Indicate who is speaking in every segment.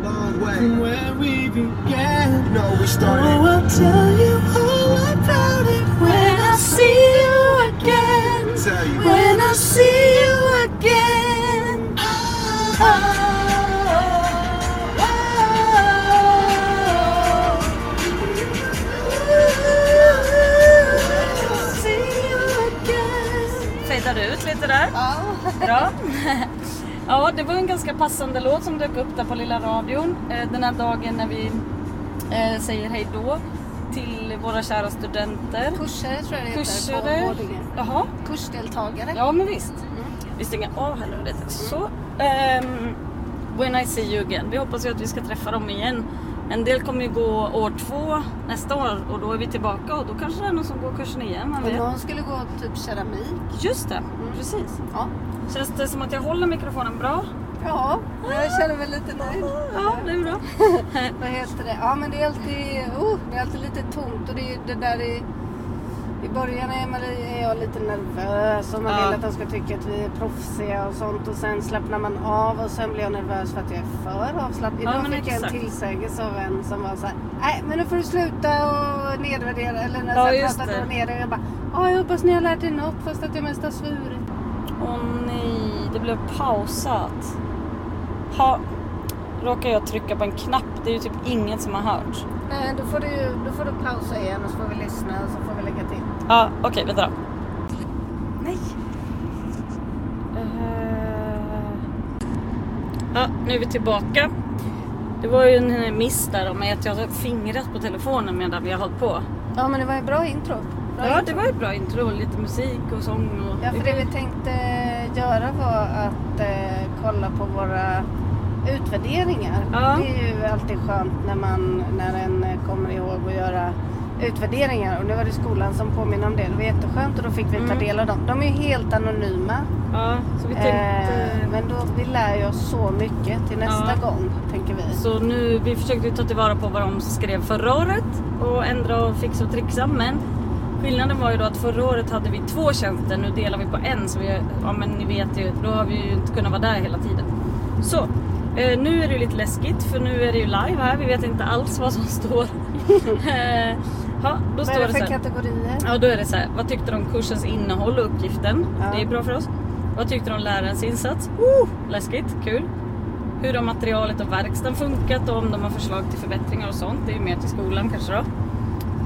Speaker 1: from where we began.
Speaker 2: No, we
Speaker 1: Oh,
Speaker 2: started.
Speaker 1: I'll tell you all about it when I see you again.
Speaker 2: Tell you.
Speaker 1: When I see you again. Oh, oh, oh. Ooh, see you again.
Speaker 3: Fejdar ut lite där. Bra. Ja, det var en ganska passande låt som dök upp där på lilla radion eh, den här dagen när vi eh, säger hej då till våra kära studenter.
Speaker 4: Kursare tror jag det heter
Speaker 3: Kursare.
Speaker 4: på vårdlinjen.
Speaker 3: Jaha.
Speaker 4: Kursdeltagare.
Speaker 3: Ja, men visst.
Speaker 4: Mm.
Speaker 3: Vi stänger av här nu lite. Så. ehm, when I see you again. Vi hoppas ju att vi ska träffa dem igen. En del kommer ju gå år två nästa år och då är vi tillbaka och då kanske det är någon som går kursen igen. Man
Speaker 4: Och Mm.
Speaker 3: vet.
Speaker 4: någon skulle gå typ keramik.
Speaker 3: Just det, precis.
Speaker 4: Ja.
Speaker 3: Känns det som att jag håller mikrofonen bra?
Speaker 4: Ja, jag känner mig lite nöjd.
Speaker 3: Ja, det är bra.
Speaker 4: Vad heter det? Ja, men det är alltid, oh, det är alltid lite tomt och det är ju det där i, i början är, man, är jag lite nervös och man
Speaker 3: Ja.
Speaker 4: vill att de ska tycka att vi är proffsiga och sånt och sen slappnar man av och sen blir jag nervös för att jag är för avslappnad. Idag
Speaker 3: men
Speaker 4: fick jag en
Speaker 3: exakt.
Speaker 4: tillsägelse av en som var så här, nej men nu får du sluta och nedvärdera eller när
Speaker 3: Ja,
Speaker 4: jag
Speaker 3: just
Speaker 4: pratade
Speaker 3: det.
Speaker 4: om nedvärdering. Jag bara, ja jag hoppas ni har lärt er något fast att jag mest har svurit.
Speaker 3: Åh nej, det blev pausat. Ha, råkar jag trycka på en knapp? Det är ju typ ingen som har hört.
Speaker 4: Nej, då får du, då får du pausa igen och så får vi lyssna och så får vi lägga till.
Speaker 3: Ja, okej, vänta då. Nej. Eh. Ja, nu är vi tillbaka. Det var ju en eh, miss där om att jag har fingrat på telefonen medan vi har hållit på.
Speaker 4: Ja, men det var en bra intro. Bra
Speaker 3: Ja,
Speaker 4: intro.
Speaker 3: det var ett bra intro. Lite musik och sång och...
Speaker 4: Ja, för det vi tänkte göra var att eh, kolla på våra utvärderingar.
Speaker 3: Ja.
Speaker 4: Det är ju alltid skönt när, man, när en eh, kommer ihåg att göra utvärderingar. Och nu var det skolan som påminner om det. Det var jätteskönt och då fick vi ta
Speaker 3: Mm.
Speaker 4: del av dem. De är ju helt anonyma.
Speaker 3: Ja, så vi tänkte...
Speaker 4: Eh, men då, vi lär ju oss så mycket till nästa
Speaker 3: Ja.
Speaker 4: gång, tänker vi.
Speaker 3: Så nu, vi försökte ju ta tillvara på vad de skrev förra året och ändra och fixa och trixa men skillnaden var ju då att förra året hade vi två tjänster, nu delar vi på en så vi, ja men ni vet ju, då har vi ju inte kunnat vara där hela tiden. Så, eh, nu är det ju lite läskigt för nu är det ju live här, vi vet inte alls vad som står. eh, ja, då
Speaker 4: Vad
Speaker 3: står
Speaker 4: är
Speaker 3: det
Speaker 4: det
Speaker 3: så
Speaker 4: för
Speaker 3: här.
Speaker 4: kategorier?
Speaker 3: Ja, då är det så här. Vad tyckte de om kursens innehåll och uppgiften?
Speaker 4: Ja.
Speaker 3: Det är bra för oss. Vad tyckte de om lärarens insats? Oh, läskigt, kul. Hur har materialet och verkstaden funkat och om de har förslag till förbättringar och sånt. Det är ju mer till skolan kanske då.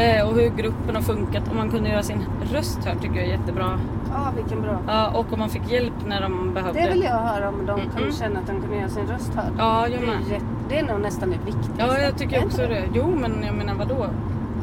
Speaker 3: Eh, och hur gruppen har funkat. Om man kunde göra sin röst hörd tycker jag är jättebra.
Speaker 4: Ja, vilken bra.
Speaker 3: Ja, och om man fick hjälp när de behövde.
Speaker 4: Det vill jag höra om de
Speaker 3: Mm-mm.
Speaker 4: kunde känna att de kunde göra sin röst hörd.
Speaker 3: Ja,
Speaker 4: Det
Speaker 3: jag
Speaker 4: är
Speaker 3: med.
Speaker 4: jätte- Det är nog nästan det viktigaste.
Speaker 3: Ja, jag tycker
Speaker 4: Är
Speaker 3: också
Speaker 4: inte
Speaker 3: det. Jo, men jag menar vadå?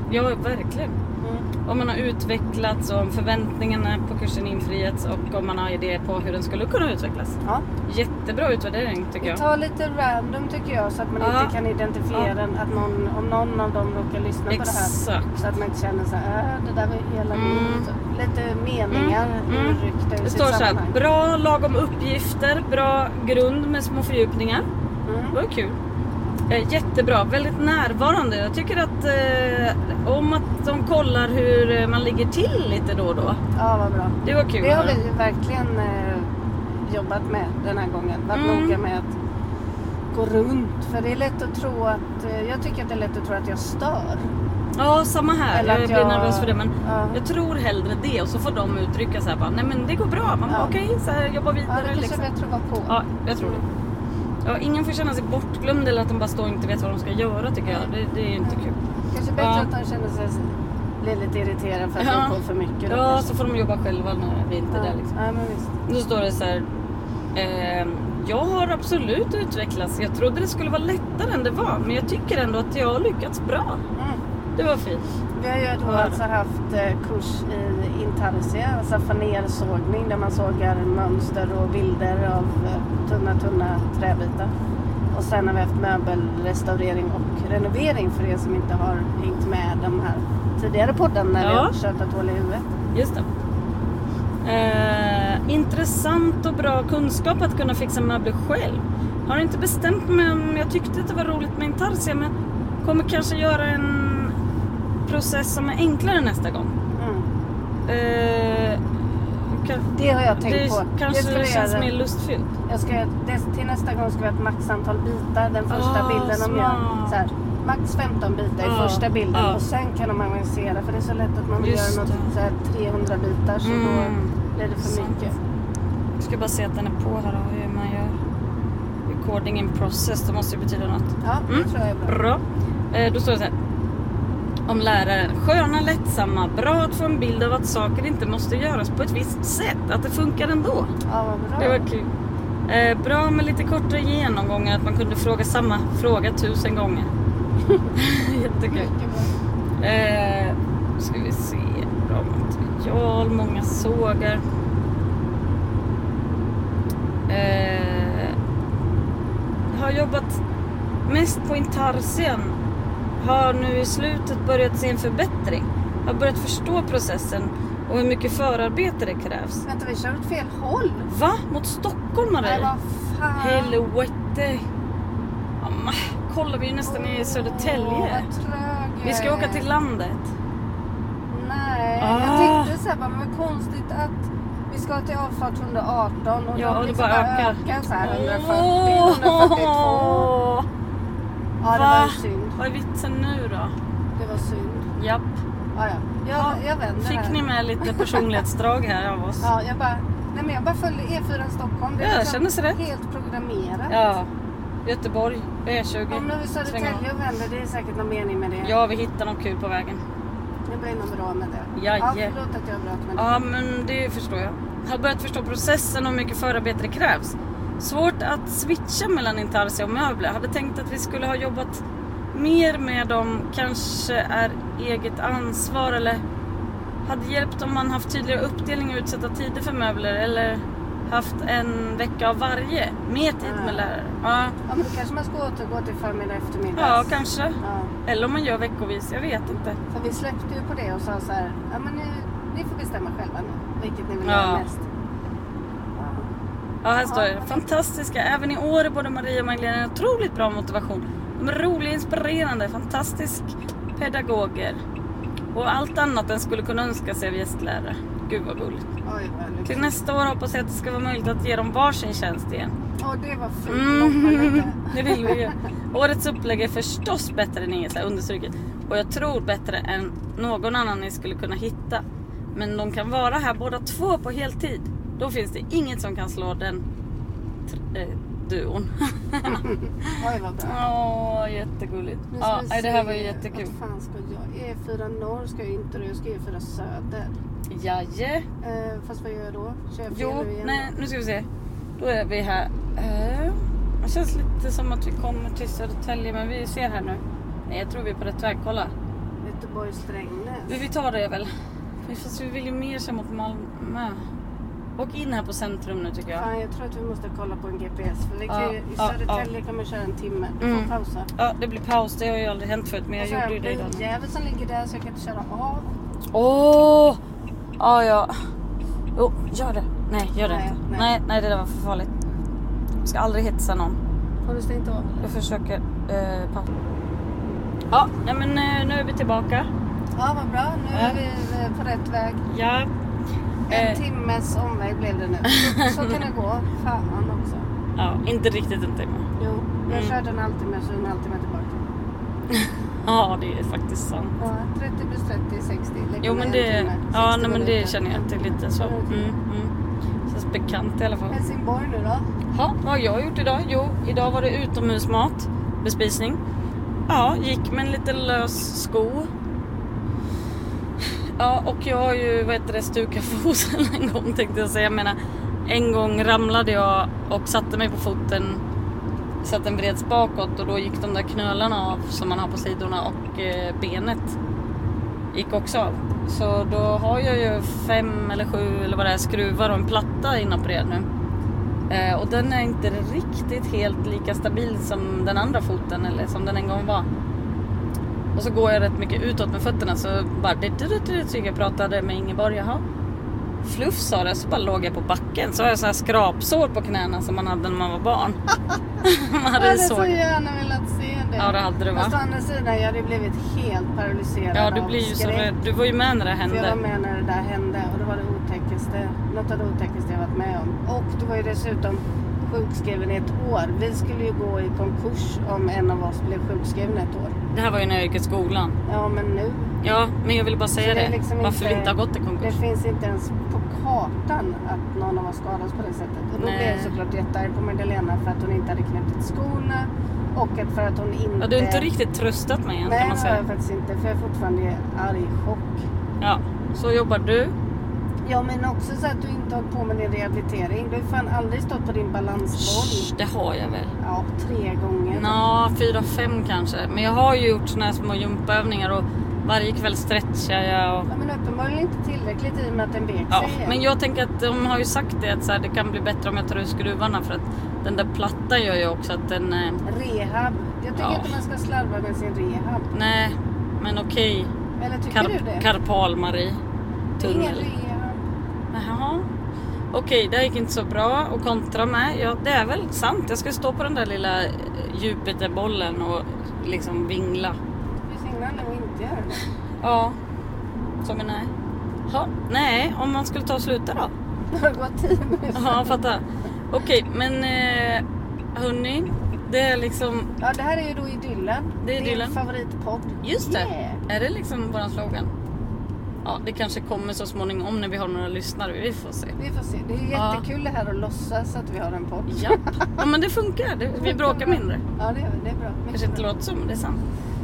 Speaker 3: Ja, verkligen.
Speaker 4: Mm.
Speaker 3: Om man har utvecklats och om förväntningarna på kursen infriats och om man har idéer på hur den skulle kunna utvecklas.
Speaker 4: Ja.
Speaker 3: Jättebra utvärdering tycker jag.
Speaker 4: Ta lite random tycker jag så att man
Speaker 3: Ja.
Speaker 4: inte kan identifiera
Speaker 3: Ja.
Speaker 4: den, att någon, om någon av dem råkar lyssna på det här.
Speaker 3: Exakt.
Speaker 4: Så att man inte känner så här, "Äh, det där var ju hela
Speaker 3: Mm.
Speaker 4: min... Lite meningar
Speaker 3: Mm. Mm.
Speaker 4: urryckta ur
Speaker 3: Det
Speaker 4: sitt
Speaker 3: står så här,
Speaker 4: sammanhang.
Speaker 3: bra lagom uppgifter, bra grund med små fördjupningar. Det
Speaker 4: Mm.
Speaker 3: var kul. Eh, Jättebra, väldigt närvarande. Jag tycker att eh, om att de kollar hur eh, man ligger till lite då och då.
Speaker 4: Ja, vad bra.
Speaker 3: Det var kul.
Speaker 4: Det har
Speaker 3: att höra.
Speaker 4: vi verkligen eh, jobbat med den här gången. Varit
Speaker 3: Mm.
Speaker 4: noga med att gå runt. För det är lätt att tro att... eh, Jag tycker att det är lätt att tro att jag stör.
Speaker 3: Ja, samma här.
Speaker 4: Eller att
Speaker 3: jag blir
Speaker 4: jag-
Speaker 3: nervös för det. Men
Speaker 4: Ja.
Speaker 3: jag tror hellre det. Och så får de uttrycka så här bara, nej men det går bra. Man bara,
Speaker 4: Ja.
Speaker 3: okej, så här, jobba
Speaker 4: Ja,
Speaker 3: vidare.
Speaker 4: det kanske
Speaker 3: liksom.
Speaker 4: är bättre att vara på.
Speaker 3: Ja, jag tror det. Ja, ingen får känna sig bortglömd eller att de bara står och inte vet vad de ska göra tycker jag. Det, det är inte kul.
Speaker 4: Kanske bättre
Speaker 3: Ja.
Speaker 4: att de känner sig blir lite irriterade för att
Speaker 3: Ja.
Speaker 4: de får för mycket. då
Speaker 3: Ja,
Speaker 4: kanske.
Speaker 3: så får de jobba själva när vi inte är
Speaker 4: alltså. ja.
Speaker 3: där liksom.
Speaker 4: Ja, men visst.
Speaker 3: Nu står det så här. ehm, jag har absolut utvecklats. Jag trodde det skulle vara lättare än det var, men jag tycker ändå att jag har lyckats bra.
Speaker 4: Mm.
Speaker 3: Det var fint.
Speaker 4: Vi har ju då
Speaker 3: Ja.
Speaker 4: alltså haft eh, kurs i intarsia, alltså fanersågning där man sågar mönster och bilder av eh, tunna, tunna träbitar. Och sen har vi haft möbelrestaurering och renovering för er som inte har hängt med de här tidigare podden när vi
Speaker 3: Ja.
Speaker 4: har tjötat hål i huvudet.
Speaker 3: Just det. Eh, intressant och bra kunskap att kunna fixa möbler själv. Har inte bestämt mig om jag tyckte att det var roligt med intarsia men kommer kanske göra en process som är enklare nästa gång.
Speaker 4: Mm.
Speaker 3: Eh, kan,
Speaker 4: Det har jag tänkt
Speaker 3: det
Speaker 4: på.
Speaker 3: kanske
Speaker 4: det ska jag
Speaker 3: känns
Speaker 4: göra.
Speaker 3: mer lustfyllt.
Speaker 4: Jag ska, det, till nästa gång ska vi ha ett maxantal bitar. Den första
Speaker 3: Ah,
Speaker 4: bilden om jag...
Speaker 3: smart.
Speaker 4: Så här, max 15 bitar i
Speaker 3: Ah,
Speaker 4: första bilden
Speaker 3: ah.
Speaker 4: och sen kan de avancera. För det är så lätt att man vill
Speaker 3: Just
Speaker 4: göra något
Speaker 3: det.
Speaker 4: så här, 300 bitar så
Speaker 3: Mm.
Speaker 4: då blir det för
Speaker 3: Sant.
Speaker 4: mycket.
Speaker 3: Jag ska bara se att den är på här och hur man gör. Recording in process, det måste ju betyda något.
Speaker 4: Ja, det
Speaker 3: Mm.
Speaker 4: tror jag är bra.
Speaker 3: Bra. Eh, då står det så här. Om läraren. Sköna, lättsamma, bra att få en bild av att saker inte måste göras på ett visst sätt. Att det funkar ändå.
Speaker 4: Ja, vad
Speaker 3: Det
Speaker 4: bra.
Speaker 3: var kul. Eh, bra med lite kortare genomgångar, att man kunde fråga samma fråga tusen gånger. Jättekul.
Speaker 4: Mycket bra.
Speaker 3: Eh, ska vi se. Bra material, många sågar. Eh, har jobbat mest på intarsien. Har nu i slutet börjat se en förbättring. Har börjat förstå processen och hur mycket förarbete det krävs.
Speaker 4: Vänta, vi kör åt fel håll.
Speaker 3: Va? Mot Stockholm
Speaker 4: Nej,
Speaker 3: Marie?
Speaker 4: vad fan.
Speaker 3: Helvete. Ja, men, Kollar vi är ju nästan i
Speaker 4: Åh,
Speaker 3: Södertälje.
Speaker 4: vad trög jag
Speaker 3: Vi ska åka
Speaker 4: är.
Speaker 3: till landet.
Speaker 4: Nej,
Speaker 3: Ah.
Speaker 4: jag tänkte så här, bara, men vad konstigt att vi ska till avfart 118 och
Speaker 3: Ja,
Speaker 4: de
Speaker 3: och det
Speaker 4: liksom
Speaker 3: bara
Speaker 4: bara
Speaker 3: ökar.
Speaker 4: ökar så här 140, 142.
Speaker 3: Åh!
Speaker 4: Ja, det var
Speaker 3: Va?
Speaker 4: ju synd.
Speaker 3: Vad är vitsen nu då?
Speaker 4: Det var synd.
Speaker 3: Japp.
Speaker 4: Ja, ja.
Speaker 3: Ja,
Speaker 4: Jag, jag vänder
Speaker 3: Fick
Speaker 4: här.
Speaker 3: ni med lite personlighetsdrag här av oss?
Speaker 4: Ja, jag bara, nej men jag bara följde E4 Stockholm. Det
Speaker 3: Ja,
Speaker 4: är
Speaker 3: jag
Speaker 4: liksom
Speaker 3: känner sig rätt.
Speaker 4: Helt programmerat.
Speaker 3: Ja. Göteborg, E E20.
Speaker 4: Om nu vi
Speaker 3: Sväng av.
Speaker 4: Södertälje och vänder, det är säkert någon mening med det.
Speaker 3: Ja, vi hittar något kul på vägen.
Speaker 4: Det blir nog bra med det.
Speaker 3: Jaje.
Speaker 4: Ja, förlåt att jag bröt med det.
Speaker 3: Ja, men det förstår jag. Har börjat förstå processen och hur mycket förarbete det krävs. Svårt att switcha mellan intarsia och möbler. Hade tänkt att vi skulle ha jobbat mer med dem, kanske är eget ansvar eller hade hjälpt om man haft tydligare uppdelning och utsatta tider för möbler eller haft en vecka av varje. Mer tid med lärare. Ja,
Speaker 4: Ja, men då kanske man ska återgå till förmiddag eftermiddag.
Speaker 3: ja kanske.
Speaker 4: Ja.
Speaker 3: Eller om man gör veckovis, jag vet inte.
Speaker 4: För vi släppte ju på det och sa så här, ja men ni, ni får bestämma själva nu, vilket ni vill
Speaker 3: Ja.
Speaker 4: göra mest. Ja.
Speaker 3: Ja, här står det. Fantastiska. Även i år är både Maria och Magdalena en otroligt bra motivation. De är roliga, inspirerande, fantastisk pedagoger. Och allt annat än skulle kunna önska sig av gästlärare. Gud vad gulligt.
Speaker 4: Oj, vad
Speaker 3: Till
Speaker 4: lyckligt.
Speaker 3: nästa år hoppas jag att det ska vara möjligt att ge dem varsin tjänst igen.
Speaker 4: Åh, det var fint. Loppan
Speaker 3: Mm,
Speaker 4: lite.
Speaker 3: det vill vi ju. Årets upplägg är förstås bättre än inget, så här understruket. Och jag tror bättre än någon annan ni skulle kunna hitta. Men de kan vara här båda två på heltid. Då finns det inget som kan slå den tr- eh, duon.
Speaker 4: Oj, vad bra.
Speaker 3: Åh, jättegulligt.
Speaker 4: Nu ska
Speaker 3: Ja,
Speaker 4: vi
Speaker 3: nej, det här
Speaker 4: se,
Speaker 3: var ju jättekul.
Speaker 4: Vad fan ska jag? E4 norr ska jag inte då, jag ska E4 söder.
Speaker 3: Jaje.
Speaker 4: Eh, fast vad gör jag då? Kör jag fel
Speaker 3: Jo,
Speaker 4: nu igen?
Speaker 3: nej, nu ska vi se. Då är vi här. Eh, Det känns lite som att vi kommer till Södertälje, men vi ser här nu. Nej, jag tror vi är på rätt väg. Kolla.
Speaker 4: Göteborg, Strängnäs.
Speaker 3: Vi, vi tar det väl. Men Fast vi vill ju mer sig mot Malmö. Och in här på centrum nu tycker jag.
Speaker 4: Fan, jag tror att vi måste kolla på en GPS. För vi kan
Speaker 3: Ja,
Speaker 4: ju, i
Speaker 3: ja,
Speaker 4: Södertälje kan man köra en timme. Du får
Speaker 3: Mm.
Speaker 4: pausa.
Speaker 3: Ja, det blir paus. Det har ju aldrig hänt förut, men
Speaker 4: Och
Speaker 3: jag
Speaker 4: så har
Speaker 3: gjorde ju
Speaker 4: Alltså, jag
Speaker 3: det
Speaker 4: en
Speaker 3: idag.
Speaker 4: biljävel som ligger där så jag kan inte köra av.
Speaker 3: Åh! Ja, ja. Jo, gör det. Nej, gör det
Speaker 4: Nej,
Speaker 3: inte.
Speaker 4: nej.
Speaker 3: Nej. nej, det där var för farligt. Jag ska aldrig hetsa någon.
Speaker 4: Har du stängt av?
Speaker 3: Jag försöker... Eh, pa- ja, ja, men eh, nu är vi tillbaka.
Speaker 4: Ja, vad bra. Nu
Speaker 3: Ja.
Speaker 4: är vi eh, på rätt väg.
Speaker 3: Ja.
Speaker 4: En
Speaker 3: Eh.
Speaker 4: timmes omväg blev det nu. Så kan det gå. Fan också.
Speaker 3: ja, inte riktigt en timme.
Speaker 4: Jo, jag
Speaker 3: Mm.
Speaker 4: körde en halvtimme så en halvtimme tillbaka.
Speaker 3: Ja, det är faktiskt sant.
Speaker 4: Ja, 30 plus 30 är 60. Lägg
Speaker 3: Jo
Speaker 4: med
Speaker 3: men
Speaker 4: en
Speaker 3: det,
Speaker 4: timme, 60
Speaker 3: ja, nej, men
Speaker 4: minuter.
Speaker 3: det känner jag att det är lite så. Mm, mm. Känns bekant i alla fall.
Speaker 4: Helsingborg nu då?
Speaker 3: Ja, vad har jag gjort idag? Jo, idag var det utomhusmat, bespisning. Ja, gick med en lite lös sko. Ja, och jag har ju vad heter det, stukat foten en gång tänkte jag säga. Jag menar, en gång ramlade jag och satte mig på foten så att den vreds bakåt och då gick de där knölarna av som man har på sidorna och eh, benet gick också av. Så då har jag ju fem eller sju eller vad det är skruvar och en platta inopererad nu. Eh, och den är inte riktigt helt lika stabil som den andra foten eller som den en gång var. Och så går jag rätt mycket utåt med fötterna så bara det jag pratade med Ingeborg, jaha. Fluff sa det, så bara låg jag på backen. Så har jag så här skrapsår på knäna som man hade när man var barn.
Speaker 4: Jag
Speaker 3: Marie
Speaker 4: hade så
Speaker 3: såg.
Speaker 4: gärna velat se det.
Speaker 3: Ja, det hade du, va?
Speaker 4: Fast å andra sidan, jag hade blivit helt paralyserad
Speaker 3: Ja, du
Speaker 4: av
Speaker 3: blir ju så
Speaker 4: skräck.
Speaker 3: rädd. Du var ju med när det
Speaker 4: För jag var
Speaker 3: hände.
Speaker 4: med när det där hände och det var det otäckaste, något av det otäckaste jag varit med om. Och du var ju dessutom sjukskriven i ett år. Vi skulle ju gå i konkurs om en av oss blev sjukskriven ett år.
Speaker 3: Det här var ju när jag gick i skolan.
Speaker 4: Ja, men nu.
Speaker 3: Ja, men jag ville bara säga
Speaker 4: Så
Speaker 3: det.
Speaker 4: är liksom
Speaker 3: Varför vi inte har gått i
Speaker 4: Det
Speaker 3: konkurs.
Speaker 4: finns inte ens på kartan att någon av oss skadas på det sättet. Och då
Speaker 3: Nej.
Speaker 4: blev jag såklart jättearg på Magdalena för att hon inte hade knutit skorna och att för att hon inte...
Speaker 3: Ja, du har inte riktigt tröstat mig än kan
Speaker 4: Nej,
Speaker 3: man
Speaker 4: det har jag
Speaker 3: säga.
Speaker 4: faktiskt inte. För jag är fortfarande i arg chock.
Speaker 3: Ja, så jobbar du.
Speaker 4: Ja men också så att du inte har hållit på med din rehabilitering. Du har ju fan aldrig stått på din
Speaker 3: Shh,
Speaker 4: balansboll.
Speaker 3: det har jag väl.
Speaker 4: Ja, tre gånger.
Speaker 3: Nå, fyra, fem kanske. Men jag har ju gjort såna här små jumpövningar och varje kväll stretchar jag. Och...
Speaker 4: Ja, men uppenbarligen inte tillräckligt i och med att den vek
Speaker 3: Ja,
Speaker 4: sig igen.
Speaker 3: men jag tänker att de har ju sagt det att så här, det kan bli bättre om jag tar ur skruvarna för att den där plattan gör ju också att den... Eh...
Speaker 4: Rehab. Jag tycker
Speaker 3: Ja.
Speaker 4: inte man ska slarva med sin rehab.
Speaker 3: Nej, men okej.
Speaker 4: Eller tycker du
Speaker 3: Karp-
Speaker 4: det?
Speaker 3: Karpal-Marie.
Speaker 4: Det är ingen
Speaker 3: Tunnel.
Speaker 4: rehab.
Speaker 3: Jaha. Okej, det här gick inte så bra och kontra med. Ja, det är väl sant. Jag ska stå på den där lilla eh, Jupiterbollen och liksom vingla.
Speaker 4: Det finns ingen anledning att inte göra det.
Speaker 3: Ja. Som en nej. Ja, nej, om man skulle ta och sluta då.
Speaker 4: Det har gått tio minuter.
Speaker 3: Ja, fattar. Okej, men eh, hörni. Det är liksom...
Speaker 4: Ja, det här är ju då idyllen.
Speaker 3: Det är idyllen.
Speaker 4: Din favoritpodd.
Speaker 3: Just det.
Speaker 4: Yeah.
Speaker 3: Är det liksom våran slogan? Ja, det kanske kommer så småningom när vi har några lyssnare. Vi får se.
Speaker 4: Vi får se. Det är
Speaker 3: Ja.
Speaker 4: jättekul det här att låtsas att vi har en podd.
Speaker 3: Japp. Ja, men det funkar. Det, vi bråkar mindre.
Speaker 4: Ja, det, det är bra.
Speaker 3: Kanske inte låter så, men det är sant.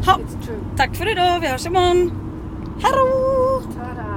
Speaker 3: Ha,
Speaker 4: It's true.
Speaker 3: tack för idag. Vi hörs imorgon. Hallå!
Speaker 4: Ta-da.